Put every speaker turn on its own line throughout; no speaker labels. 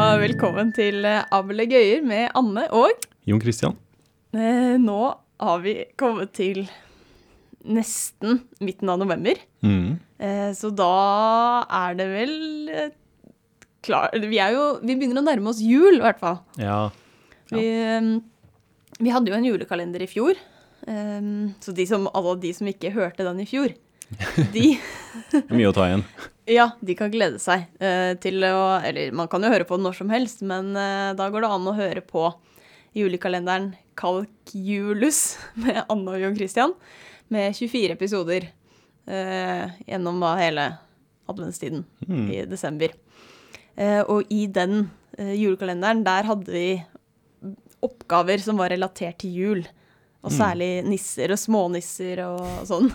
velkommen til eh, Able Gøyer med Anne og
Jon Christian.
eh, Nå har vi kommet til nesten midten av november.
Mm.
Eh, Så da er det vel eh, klar... Vi, er jo, vi begynner å nærme oss jul, i hvert fall.
Ja. Ja.
Vi, eh, vi hadde jo en julekalender i fjor. eh, Så de som, alle de som ikke hørte den i fjor, de
det er Mye å ta igjen.
Ja, de kan glede seg eh, til å Eller man kan jo høre på den når som helst, men eh, da går det an å høre på julekalenderen Kalk Julus med Anne og Jon Christian, med 24 episoder eh, gjennom da hele adventstiden
Mm.
i desember. Eh, og i den eh, julekalenderen, der hadde vi oppgaver som var relatert til jul. Og særlig nisser og smånisser og sånn.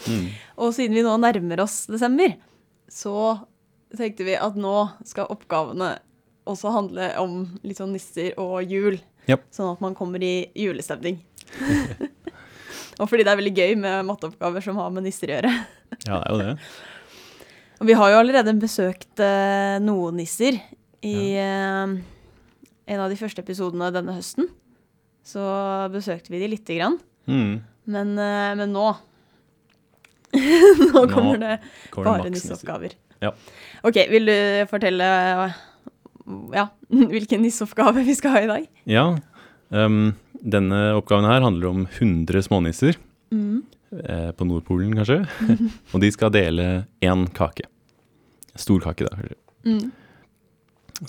Mm.
Og siden vi nå nærmer oss desember, så tenkte vi at nå skal oppgavene også handle om litt sånn nisser og jul.
Japp.
Sånn at man kommer i julestemning. og fordi det er veldig gøy med matteoppgaver som har med nisser å gjøre.
Ja, det er jo det.
Og vi har jo allerede besøkt eh, noen nisser i eh, en av de første episodene denne høsten. Så besøkte vi de lite grann.
Mm.
Men, eh, men nå Nå kommer det
Går det
bare
maks neste-
nisseoppgaver.
Ja.
OK, vil du fortelle ja, hvilken nisseoppgave vi skal ha i dag?
Ja. Um, denne oppgaven her handler om 100 smånisser.
Mm.
Eh, på Nordpolen, kanskje. og de skal dele én kake. Stor kake, da, kanskje.
Mm.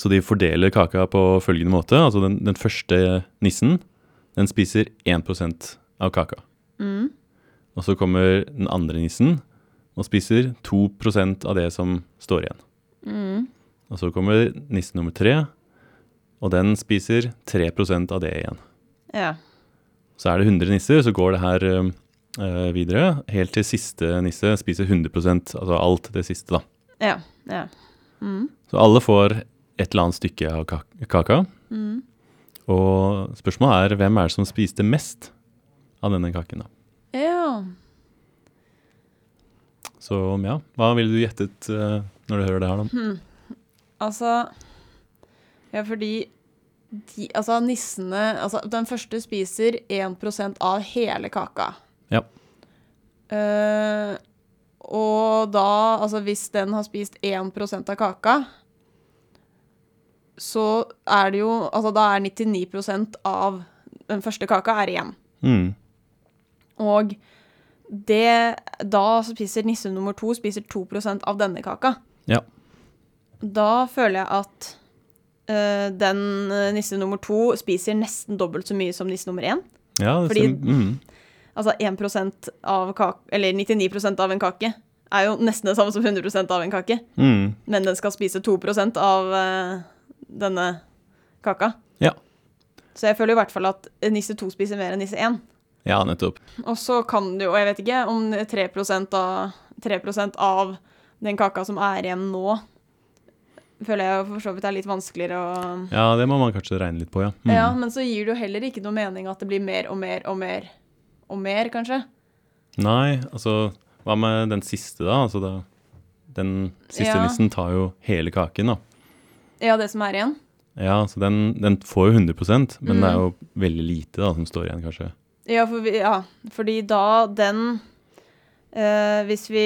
Så de fordeler kaka på følgende måte. Altså den, den første nissen, den spiser 1 av kaka.
Mm.
Og så kommer den andre nissen og spiser 2 av det som står igjen.
Mm.
Og så kommer nissen nummer tre, og den spiser 3 av det igjen.
Ja.
Så er det 100 nisser, så går det her eh, videre helt til siste nisse spiser 100 altså alt det siste, da.
Ja. ja. Mm.
Så alle får et eller annet stykke av ka- kaka.
Mm.
Og spørsmålet er hvem er det som spiste mest av denne kaken, da.
ja.
Så ja, hva ville du gjettet eh, når du hører det her, da?
Altså Ja, fordi de, altså nissene altså Den første spiser 1 av hele kaka.
Ja.
Eh, og da Altså, hvis den har spist 1 av kaka, så er det jo Altså, da er 99 av den første kaka er igjen.
Mm.
Og det Da spiser nisse nummer to spiser 2 av denne kaka.
Ja.
Da føler jeg at eh, den eh, nisse nummer to spiser nesten dobbelt så mye som nisse nummer én.
ja det
Fordi-
stemmer. Mm.
Altså 1 av kake, eller 99 av en kake er jo nesten det samme som 100 av en kake.
Mm.
Men den skal spise 2 av eh, denne kaka.
Ja.
Så jeg føler i hvert fall at nisse to spiser mer enn nisse én.
ja, nettopp.
Og så kan det jo, jeg vet ikke, om 3 av, 3 av den kaka som er igjen nå, føler jeg jo for så vidt er litt vanskeligere å
Ja, det må man kanskje regne litt på, ja. Mm.
Ja, men så gir det jo heller ikke noe mening at det blir mer og mer og mer og mer, kanskje.
Nei, altså Hva med den siste, da? Altså, da den siste
Ja.
nissen tar jo hele kaken, da.
Ja, det som er igjen.
Ja, så den, den får jo 100 men
Mm.
det er jo veldig lite da som står igjen, kanskje.
Ja, for vi, ja fordi da den eh, hvis, vi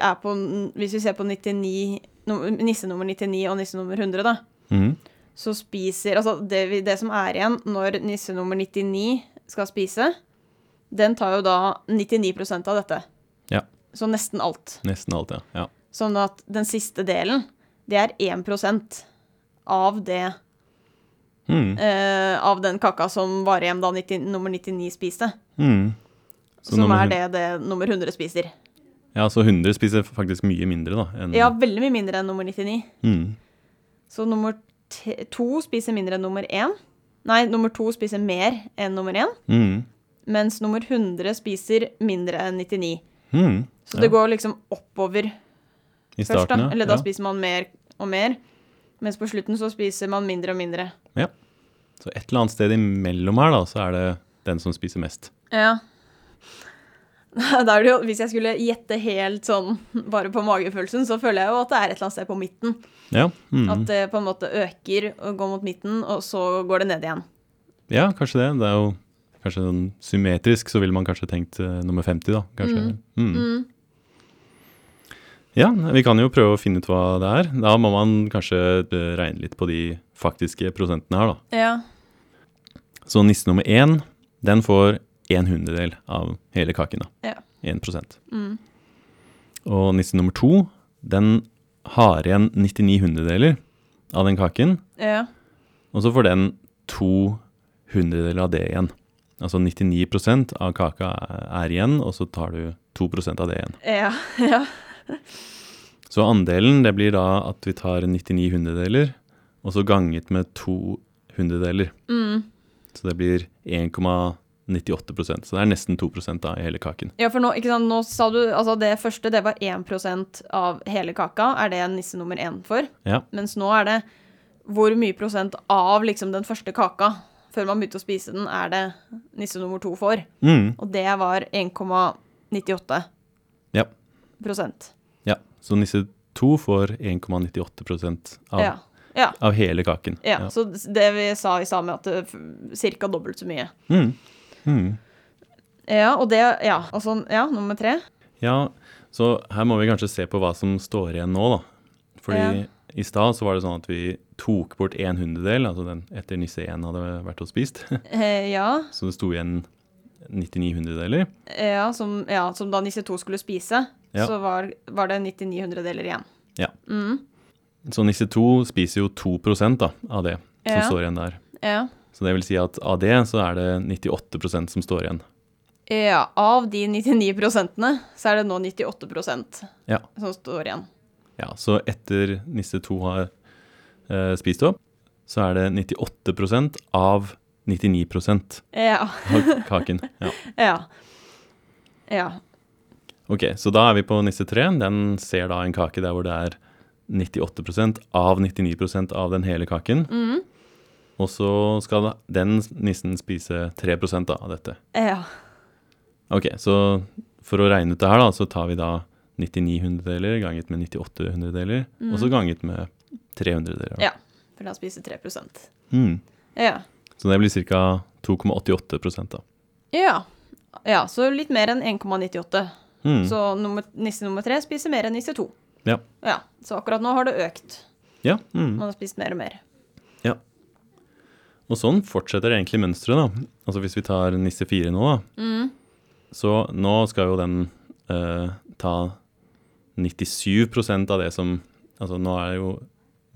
er på, hvis vi ser på 99, no, nisse nummer 99 og nisse nummer 100, da,
Mm.
så spiser Altså, det, vi- det som er igjen når nisse nummer 99 skal spise, den tar jo da 99 av dette.
Ja.
Så nesten alt.
Nesten alt, ja. ja.
Sånn at den siste delen, det er 1 av det
Mm.
eh, Av den kaka som var igjen da 90, nummer 99 spiste.
Mm. Så
Som
nummer
er
hun-
det det nummer 100 spiser.
Ja, så 100 spiser faktisk mye mindre, da. Enn,
Ja, veldig mye mindre enn nummer 99.
Mm.
Så nummer te- to spiser mindre enn nummer én. Nei, nummer to spiser mer enn nummer én.
Mm.
mens nummer 100 spiser mindre enn 99.
Mm.
Så
Ja.
det går liksom oppover
I
først, da.
starten, ja.
Eller da
ja.
spiser man mer og mer. Mens på slutten så spiser man mindre og mindre.
Så et eller annet sted imellom her, da, så er det den som spiser mest.
Ja. Da er det jo, hvis jeg skulle gjette helt sånn bare på magefølelsen, så føler jeg jo at det er et eller annet sted på midten.
Ja, mhm.
At det på en måte øker og går mot midten, og så går det ned igjen.
ja kanskje det. Det er jo kanskje sånn symmetrisk, så ville man kanskje tenkt eh, nummer 50, da. Kanskje. Mhm.
Mm.
Ja, vi kan jo prøve å finne ut hva det er. Da må man kanskje eh, regne litt på de faktiske prosentene her, da.
Ja.
Så nisse nummer én, den får en hundredel av hele kaken. da.
Ja.
1
Mm.
Og nisse nummer to, den har igjen 99 hundredeler av den kaken.
Ja.
Og så får den to hundredeler av det igjen. Altså 99 av kaka er igjen, og så tar du 2 av det igjen.
Ja. ja.
Så andelen det blir da at vi tar 99 hundredeler, og så ganget med to hundredeler.
Mm.
Så det blir 1,98 Så det er nesten 2 da i hele kaken.
Ja, for nå, ikke sant, nå sa du altså det første, det var 1 av hele kaka. Er det nisse nummer én for?
Ja.
Mens nå er det hvor mye prosent av liksom den første kaka før man begynte å spise den, er det nisse nummer to for?
Mm,
Og det var 1,98
ja.
prosent.
ja. Så nisse 2 får 1,98 av,
Ja. Ja.
av hele kaken.
ja. Så det vi sa i stad med at det ca. dobbelt så mye.
Mm. Mm.
Ja, og det Ja, altså, ja, nummer tre.
Ja, så her må vi kanskje se på hva som står igjen nå, da. Fordi
Ja.
i stad så var det sånn at vi tok bort en hundredel, altså den etter nisse 1 hadde vært og spist.
Eh, ja.
Så det sto igjen 99 hundredeler.
Ja som, ja, som da nisse to skulle spise,
Ja.
så var, var det 99 hundredeler igjen.
Ja.
Mm,
Så nisse 2 spiser jo 2 da, av det som
Ja.
står igjen der.
ja.
Så det vil si at av det så er det 98 som står igjen.
ja. Av de 99 prosentene, så er det nå 98 prosent
Ja.
som står igjen.
Ja, så etter nisse 2 har eh, spist opp, så er det 98 av 99 av
Ja.
kaken. Ja.
Ja. ja.
Ok, så da er vi på nisse 3. Den ser da en kake der hvor det er 98 av 99 av den hele kaken.
Mhm.
Og så skal da den nissen spise 3 da, av dette.
ja.
Ok, så for å regne ut det her da, så tar vi da 99 hundredeler ganget med 98 hundredeler, og så ganget med 3 hundredeler. da.
Mm. Ja. For da spiser 3
Mm.
Ja.
Så det blir ca. 2,88 da.
ja. Ja, så litt mer enn 1,98.
Mm.
Så nummer, nisse nummer tre spiser mer enn nisse to.
Ja.
Ja, så akkurat nå har det økt.
ja. Mm.
Man har spist mer og mer.
ja. Og sånn fortsetter egentlig mønstret da. Altså hvis vi tar nisse 4 nå da,
Mm.
så nå skal jo den eh, ta 97 av det som, altså nå er det jo,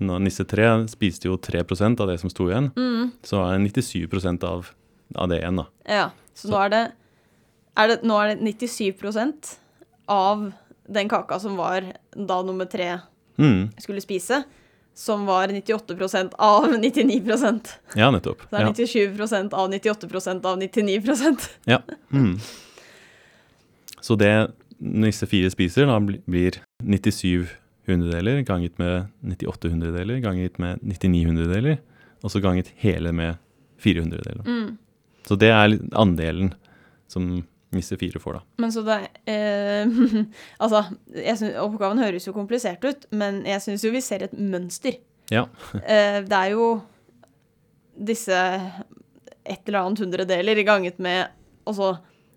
nå, nisse 3 spiste jo 3 av det som sto igjen,
Mm.
så er det 97 av, av det igjen da.
Ja, så, nå er det, er det Nå er det 97 av den kaka som var da nummer tre
Mm.
skulle spise, som var 98 av 99 Så
Ja, nettopp.
det er
Ja.
97 av 98 av 99
Ja. Mm. Så det nisse fire spiser, da bli- blir 97 hundredeler ganget med 98 hundredeler ganget med 99 hundredeler, og så ganget hele med 4 hundredeler.
Mm.
Så det er litt andelen som nisse fire får, da.
Men så det er eh, Altså, jeg synes, oppgaven høres jo komplisert ut, men jeg syns jo vi ser et mønster.
Ja.
Eh, det er jo disse et eller annet hundredeler ganget med og så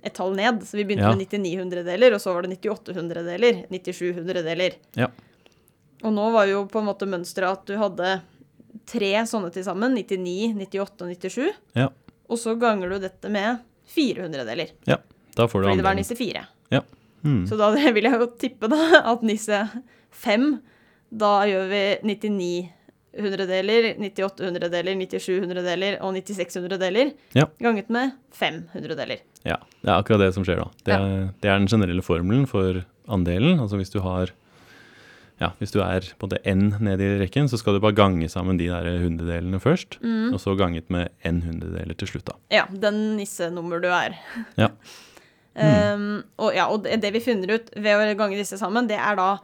et tall ned. Så vi begynte
Ja.
med 99 hundredeler, og så var det 98 hundredeler. 97 hundredeler.
Ja.
Og nå var jo på en måte mønsteret at du hadde tre sånne til sammen. 99, 98 og 97.
Ja.
Og så ganger du dette med fire hundredeler.
ja. Da får du
Fordi det var
andelen.
nisse fire.
Ja. Mm.
Så da vil jeg jo tippe da at nisse 5, da gjør vi 99 hundredeler, 98 hundredeler, 97 hundredeler og 96 hundredeler
Ja.
ganget med 5 hundredeler.
ja. Det er akkurat det som skjer, da. Det
Ja.
er, det er den generelle formelen for andelen. Altså hvis du har ja, hvis du er på det n nede i rekken, så skal du bare gange sammen de der hundredelene først,
Mm.
og så ganget med n hundredeler til slutt, da.
Ja, den nissenummer du er.
Ja. Mm.
Ehm, og, ja, og det det vi finner ut ved å gange disse sammen, det er da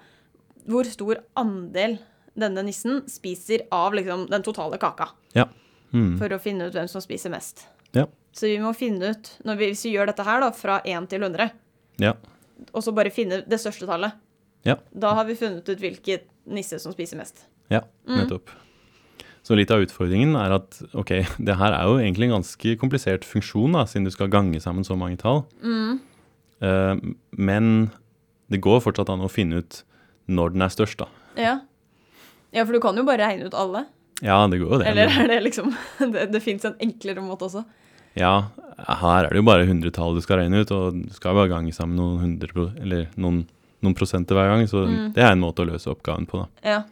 hvor stor andel denne nissen spiser av liksom, den totale kaka,
Ja. Mm.
for å finne ut hvem som spiser mest.
ja.
Så vi må finne ut, når vi, hvis vi gjør dette her da, fra 1 til 100,
Ja.
Og så bare finne det største tallet.
Ja.
Da har vi funnet ut hvilket nisse som spiser mest.
Ja,
Mm.
nettopp. Så litt av utfordringen er at ok, det her er jo egentlig en ganske komplisert funksjon, da, siden du skal gange sammen så mange tall.
Mm.
Eh, men det går fortsatt an å finne ut når den er størst, da.
Ja. ja, for du kan jo bare regne ut alle.
Ja, det går jo det.
Eller
men-
er det liksom Det, det fins en enklere måte også.
Ja, her er det jo bare hundretall du skal regne ut, og du skal bare gange sammen noen hundre, pro- eller noen, noen prosenter hver gang, så
Mm.
det er en måte å løse oppgaven på, da.
Ja.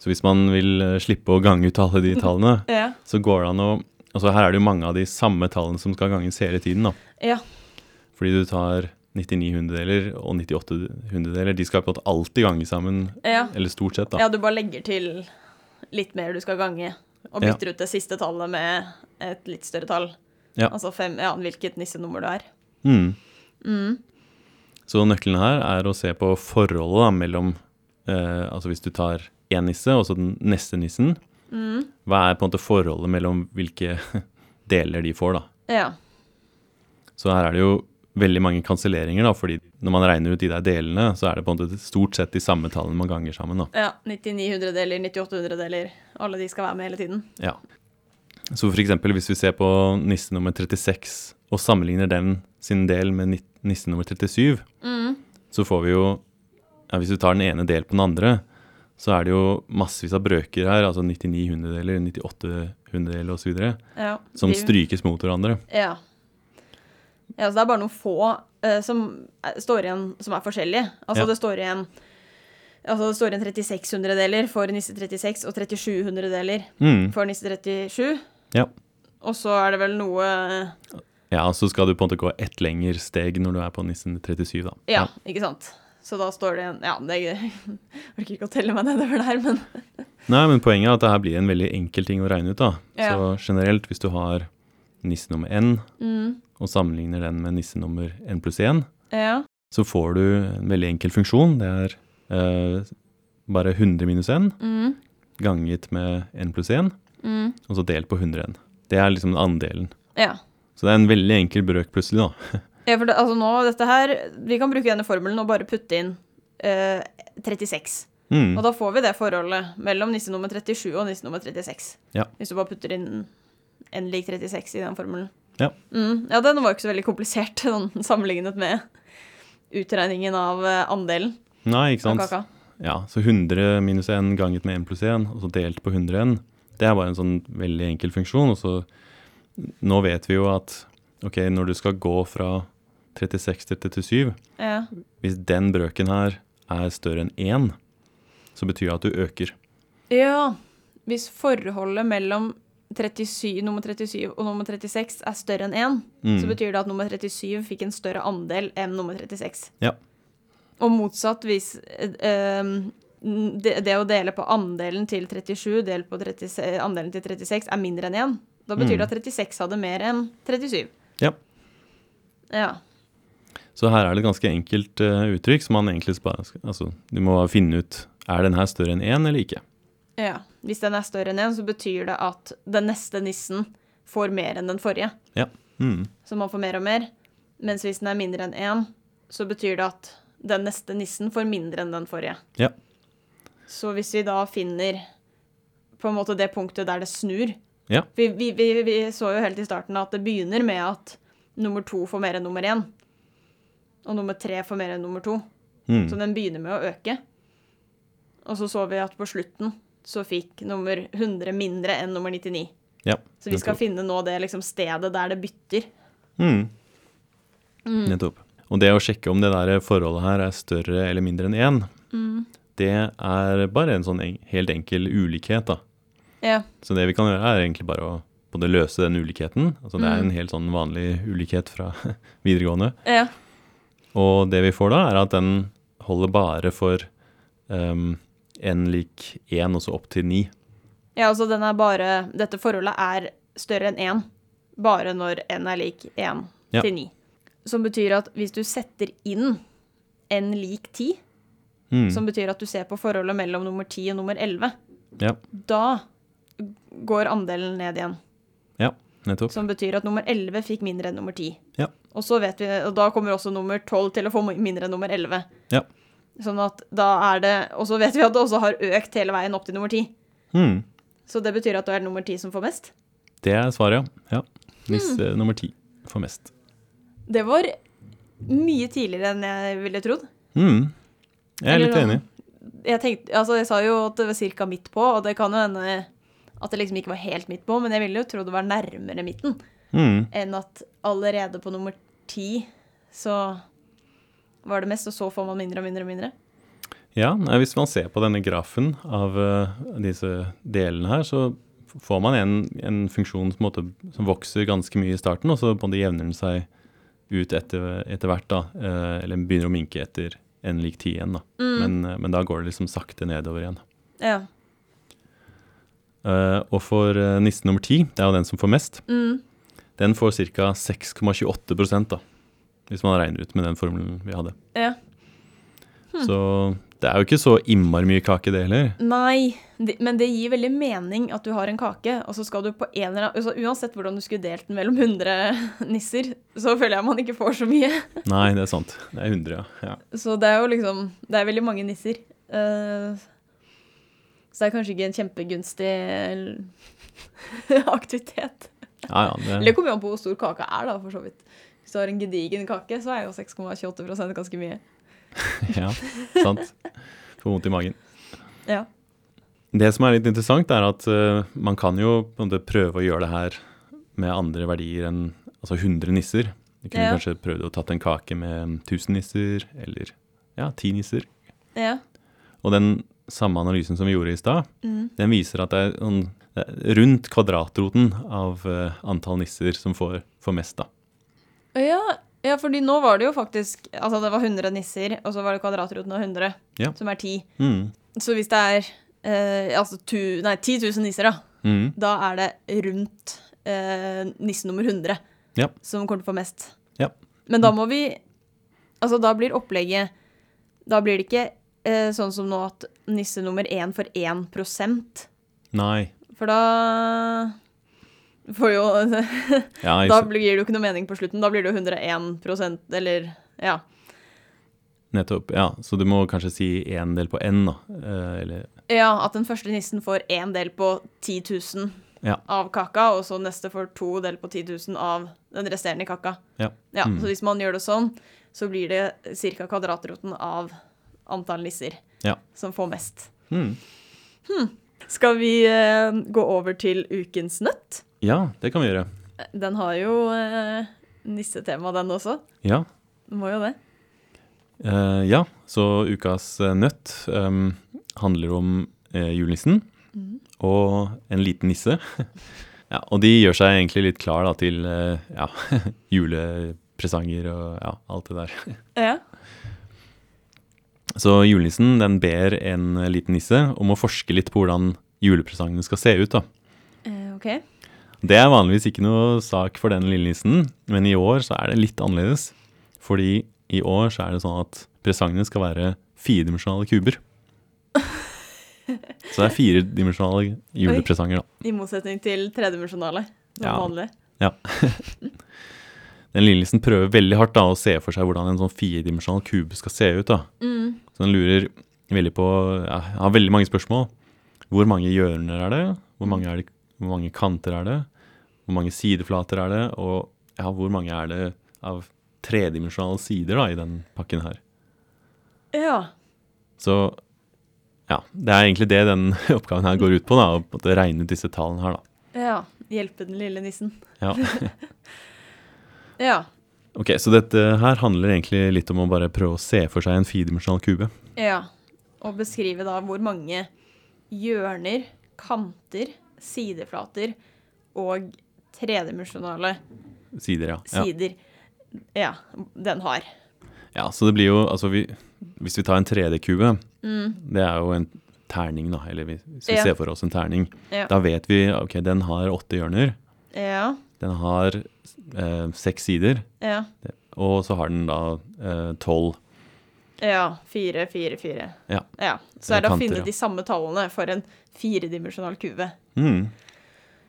Så hvis man vil eh, slippe å gange ut alle de tallene,
Ja.
så går det an å Altså her er det jo mange av de samme tallene som skal ganges hele tiden, da.
ja.
Fordi du tar 99 hundedeler og 98 hundedeler. De skal på en måte alltid gange sammen,
ja.
eller stort sett, da.
Ja, du bare legger til litt mer du skal gange, og
Ja.
bytter ut det siste tallet med et litt større tall.
Ja.
Altså fem, ja, hvilket nissenummer du er.
Mm. Så nøkkelen her er å se på forholdet da, mellom eh, Altså hvis du tar én nisse og så den neste nissen, hva er på en måte forholdet mellom hvilke deler de får, da.
Ja.
Så her er det jo veldig mange kanselleringer, da, fordi når man regner ut de der delene, så er det på en måte stort sett de samme tallene man ganger sammen, da.
ja 99 hundredeler, 98 hundredeler. Alle de skal være med hele tiden.
Ja. Så for eksempel hvis vi ser på nisse nummer 36 og sammenligner den sin del med ni- nisse nummer 37,
Mm.
så får vi jo ja, Hvis du tar den ene del på den andre, så er det jo massevis av brøker her, altså 99 hundredeler, 98 hundedeler osv.,
Ja.
som
de-
strykes mot hverandre.
Ja. ja. Så det er bare noen få eh, som er, står igjen som er forskjellige. Altså
Ja.
det står igjen Altså det står igjen 36 hundredeler for nisse 36 og 37 hundredeler
Mm.
for nisse 37.
Ja.
Og så er det vel noe eh,
ja, så skal du på en måte gå ett lengre steg når du er på nissen 37, da.
Ja, ikke sant. Så da står det igjen Ja, det er Jeg orker ikke å telle meg nedover der, men
Nei, men poenget er at det her blir en veldig enkel ting å regne ut, da.
Ja.
Så generelt, hvis du har nisse nummer n,
Mm,
og sammenligner den med nisse nummer n pluss 1,
Ja.
så får du en veldig enkel funksjon. Det er eh, bare 100 minus n
Mm.
ganget med n pluss 1,
Mm.
og så delt på 100n. Det er liksom andelen.
Ja.
Så det er en veldig enkel brøk plutselig, da.
Ja, for det, altså nå, dette her Vi kan bruke denne formelen og bare putte inn eh, 36.
Mm.
Og da får vi det forholdet mellom nisse nummer 37 og nisse nummer 36.
Ja.
Hvis du bare putter inn n lik 36 i den formelen.
Ja.
Mm, ja, den var jo ikke så veldig komplisert sånn, sammenlignet med utregningen av eh, andelen
Nei, ikke
av
sant.
kaka.
Ja, så 100 minus 1 ganget med 1 pluss 1, og så delt på 100n. Det er bare en sånn veldig enkel funksjon. Og så nå vet vi jo at ok, når du skal gå fra 36 til 37,
Ja.
hvis den brøken her er større enn 1, så betyr det at du øker.
ja. Hvis forholdet mellom 37, nummer 37 og nummer 36 er større enn 1,
Mm.
så betyr det at nummer 37 fikk en større andel enn nummer 36.
Ja.
Og motsatt hvis eh, eh, det, det å dele på andelen til 37 delt på 36, andelen til 36 er mindre enn 1, da betyr det at 36 hadde mer enn 37.
Ja.
Ja.
Så her er det et ganske enkelt eh, uttrykk som man egentlig bare skal Altså, du må finne ut er den her større enn 1 eller ikke.
ja. Hvis den er større enn 1, så betyr det at den neste nissen får mer enn den forrige.
Ja. Mm.
Så man får mer og mer. Mens hvis den er mindre enn 1, så betyr det at den neste nissen får mindre enn den forrige.
Ja.
Så hvis vi da finner på en måte det punktet der det snur
Ja.
vi, vi, vi, vi så jo helt i starten at det begynner med at nummer to får mer enn nummer én. Og nummer tre får mer enn nummer to.
Mm.
Så den begynner med å øke. Og så så vi at på slutten så fikk nummer 100 mindre enn nummer 99.
ja.
Så vi skal finne nå det liksom stedet der det bytter.
Mm.
Mm.
Nettopp. Og det å sjekke om det der forholdet her er større eller mindre enn én,
Mm.
det er bare en sånn en, helt enkel ulikhet, da.
Ja.
Så det vi kan gjøre, er egentlig bare å både løse den ulikheten, altså det
Mm.
er en helt sånn vanlig ulikhet fra videregående,
Ja.
og det vi får da, er at den holder bare for um, n lik 1 og så opp til 9.
ja, altså den er bare Dette forholdet er større enn én. Bare når n er lik 1
Ja.
til 9. Som betyr at hvis du setter inn n lik 10
Mm.
som betyr at du ser på forholdet mellom nummer 10 og nummer 11.
Ja.
Da går andelen ned igjen.
ja. nettopp.
Som betyr at nummer 11 fikk mindre enn nummer 10.
Ja.
Og, så vet vi, og da kommer også nummer 12 til å få mindre enn nummer 11.
Ja.
Sånn at da er det, Og så vet vi at det også har økt hele veien opp til nummer 10.
Hmm.
Så det betyr at det er nummer 10 som får mest.
Det er svaret, ja. ja.
Hmm.
Nisse nummer ti får mest.
Det var mye tidligere enn jeg ville trodd.
Hmm. Jeg er
Eller
litt
da-
enig.
Jeg, tenkte, altså jeg sa jo at det var ca. midt på, og det kan jo hende at det liksom ikke var helt midt på, men jeg ville jo tro det var nærmere midten
Hmm.
enn at allerede på nummer 10 så var det mest, og så får man mindre og mindre og mindre.
Ja, nei, hvis man ser på denne grafen av eh, disse delene her, så f- får man en, en funksjon som, på en måte, som vokser ganske mye i starten, og så på en måte jevner den seg ut etter, etter hvert, da, eh, eller begynner å minke etter n lik 10 igjen. Da.
Mm.
Men, eh, men da går det liksom sakte nedover igjen.
Ja.
Eh, og for eh, nissen nummer 10, det er jo den som får mest,
Mm.
den får ca. 6,28 prosent, da, hvis man regner ut med den formelen vi hadde.
ja.
Så det er jo ikke så innmari mye kake, det heller.
Nei, de- men det gir veldig mening at du har en kake, og så skal du på en eller annen altså Uansett hvordan du skulle delt den mellom 100 nisser, så føler jeg man ikke får så mye.
Nei, det er sant. Det er 100, ja. ja.
Så det er jo liksom Det er veldig mange nisser. Eh, så det er kanskje ikke en kjempegunstig aktivitet.
Ja, ja,
Eller
det,
det kommer jo an på hvor stor kaka er, da, for så vidt. Hvis du har en gedigen kake, så er jo 6,28 ganske mye.
ja, sant. Får vondt i magen.
Ja.
Det som er litt interessant, er at eh, man kan jo på en måte prøve å gjøre det her med andre verdier enn altså 100 nisser. Du kunne
Ja.
kanskje prøvd å tatt en kake med 1000 nisser, eller ja, 10 nisser.
Ja.
Og den samme analysen som vi gjorde i stad,
Mm.
den viser at det er sånn, det er rundt kvadratroten av eh, antall nisser som får, får mest, da.
Ja, ja, fordi nå var det jo faktisk Altså, det var 100 nisser, og så var det kvadratroten av 100,
Ja.
som er 10.
Mm.
Så hvis det er eh, altså tu, nei, 10 000 nisser, da,
Mm.
da er det rundt eh, nisse nummer 100
Ja.
som kommer til å få mest.
Ja.
Men
Mm.
da må vi Altså, da blir opplegget Da blir det ikke eh, sånn som nå at nisse nummer 1 får 1 For
Nei.
da får jo
Ja,
Da
jeg,
blir det jo ikke noe mening på slutten. Da blir det jo 101 eller Ja.
nettopp. Ja, så du må kanskje si en del på n, da. eh, eller
Ja, at den første nissen får én del på 10 000
Ja.
av kaka, og så neste får to del på 10 000 av den resterende kaka.
Ja.
Ja,
Mm.
Så hvis man gjør det sånn, så blir det ca. kvadratroten av antall nisser
Ja.
som får mest.
Mm.
Skal vi eh, gå over til ukens nøtt?
Ja, det kan vi gjøre.
Den har jo eh, nissetema, den også.
Ja,
Den må jo det.
Eh, ja. så ukas eh, nøtt em, handler om eh, julenissen og en liten nisse. ja, og de gjør seg egentlig litt klar da, til eh, ja, julepresanger og ja, alt det der.
Ja.
Så julenissen den ber en eh, liten nisse om å forske litt på hvordan julepresangene skal se ut. da.
Eh, OK.
Det er vanligvis ikke noe sak for den lille nissen, men i år så er det litt annerledes. Fordi i år så er det sånn at presangene skal være firedimensjonale kuber. Så det er firedimensjonale julepresanger, da.
I motsetning til tredimensjonale, som
Ja.
vanlig.
Den lille nissen prøver veldig hardt da å se for seg hvordan en sånn firedimensjonal kube skal se ut. da. Så den lurer veldig på ja, Har veldig mange spørsmål. Hvor mange hjørner er det? Hvor mange, er det? hvor mange kanter er det? Hvor mange sideflater er det? Og ja, hvor mange er det av tredimensjonale sider da, i den pakken her?
Ja.
Så ja, det er egentlig det den oppgaven her går ut på. da, Å på en måte regne ut disse tallene her, da.
ja. Hjelpe den lille nissen.
Ja.
Ja.
Ok, Så dette her handler egentlig litt om å bare prøve å se for seg en firedimensjonal kube.
Ja, og beskrive da hvor mange hjørner, kanter, sideflater og tredimensjonale
Sider, ja. ja.
sider ja. den har.
Ja, så det blir jo Altså, vi, hvis vi tar en 3D-kube,
Mm.
det er jo en terning, da. Eller hvis hvis vi
Ja.
ser for oss en terning,
Ja.
da vet vi ok, den har åtte hjørner.
Ja,
Den har eh, seks sider,
ja,
og så har den da eh, tolv.
ja. Fire, fire, fire.
Ja.
ja. Så er det å
Kanter,
finne
ja.
de samme tallene for en firedimensjonal kube.
Mm.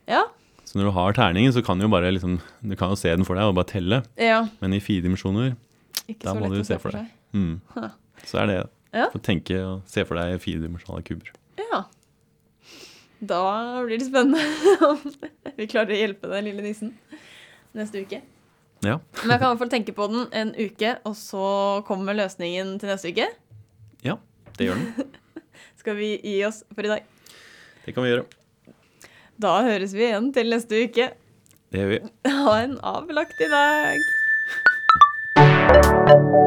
Ja,
Hmm. Så når du har terningen, så kan du jo bare liksom, du kan jo se den for deg og bare telle.
Ja,
Men i fire dimensjoner,
ikke
Da
så
må
lett
du
å se
se for
for seg.
mm,
Huh.
så er det.
Ja.
Få tenke og se for deg firedimensjonale kuber.
Ja. Da blir det spennende om vi klarer å hjelpe den lille nissen neste uke.
Ja.
Men jeg kan i hvert fall tenke på den en uke, og så kommer løsningen til neste uke.
Ja, det gjør den.
Skal vi gi oss for i dag?
Det kan vi gjøre.
Da høres vi igjen til neste uke.
Det gjør vi.
Ha en avlagt i dag.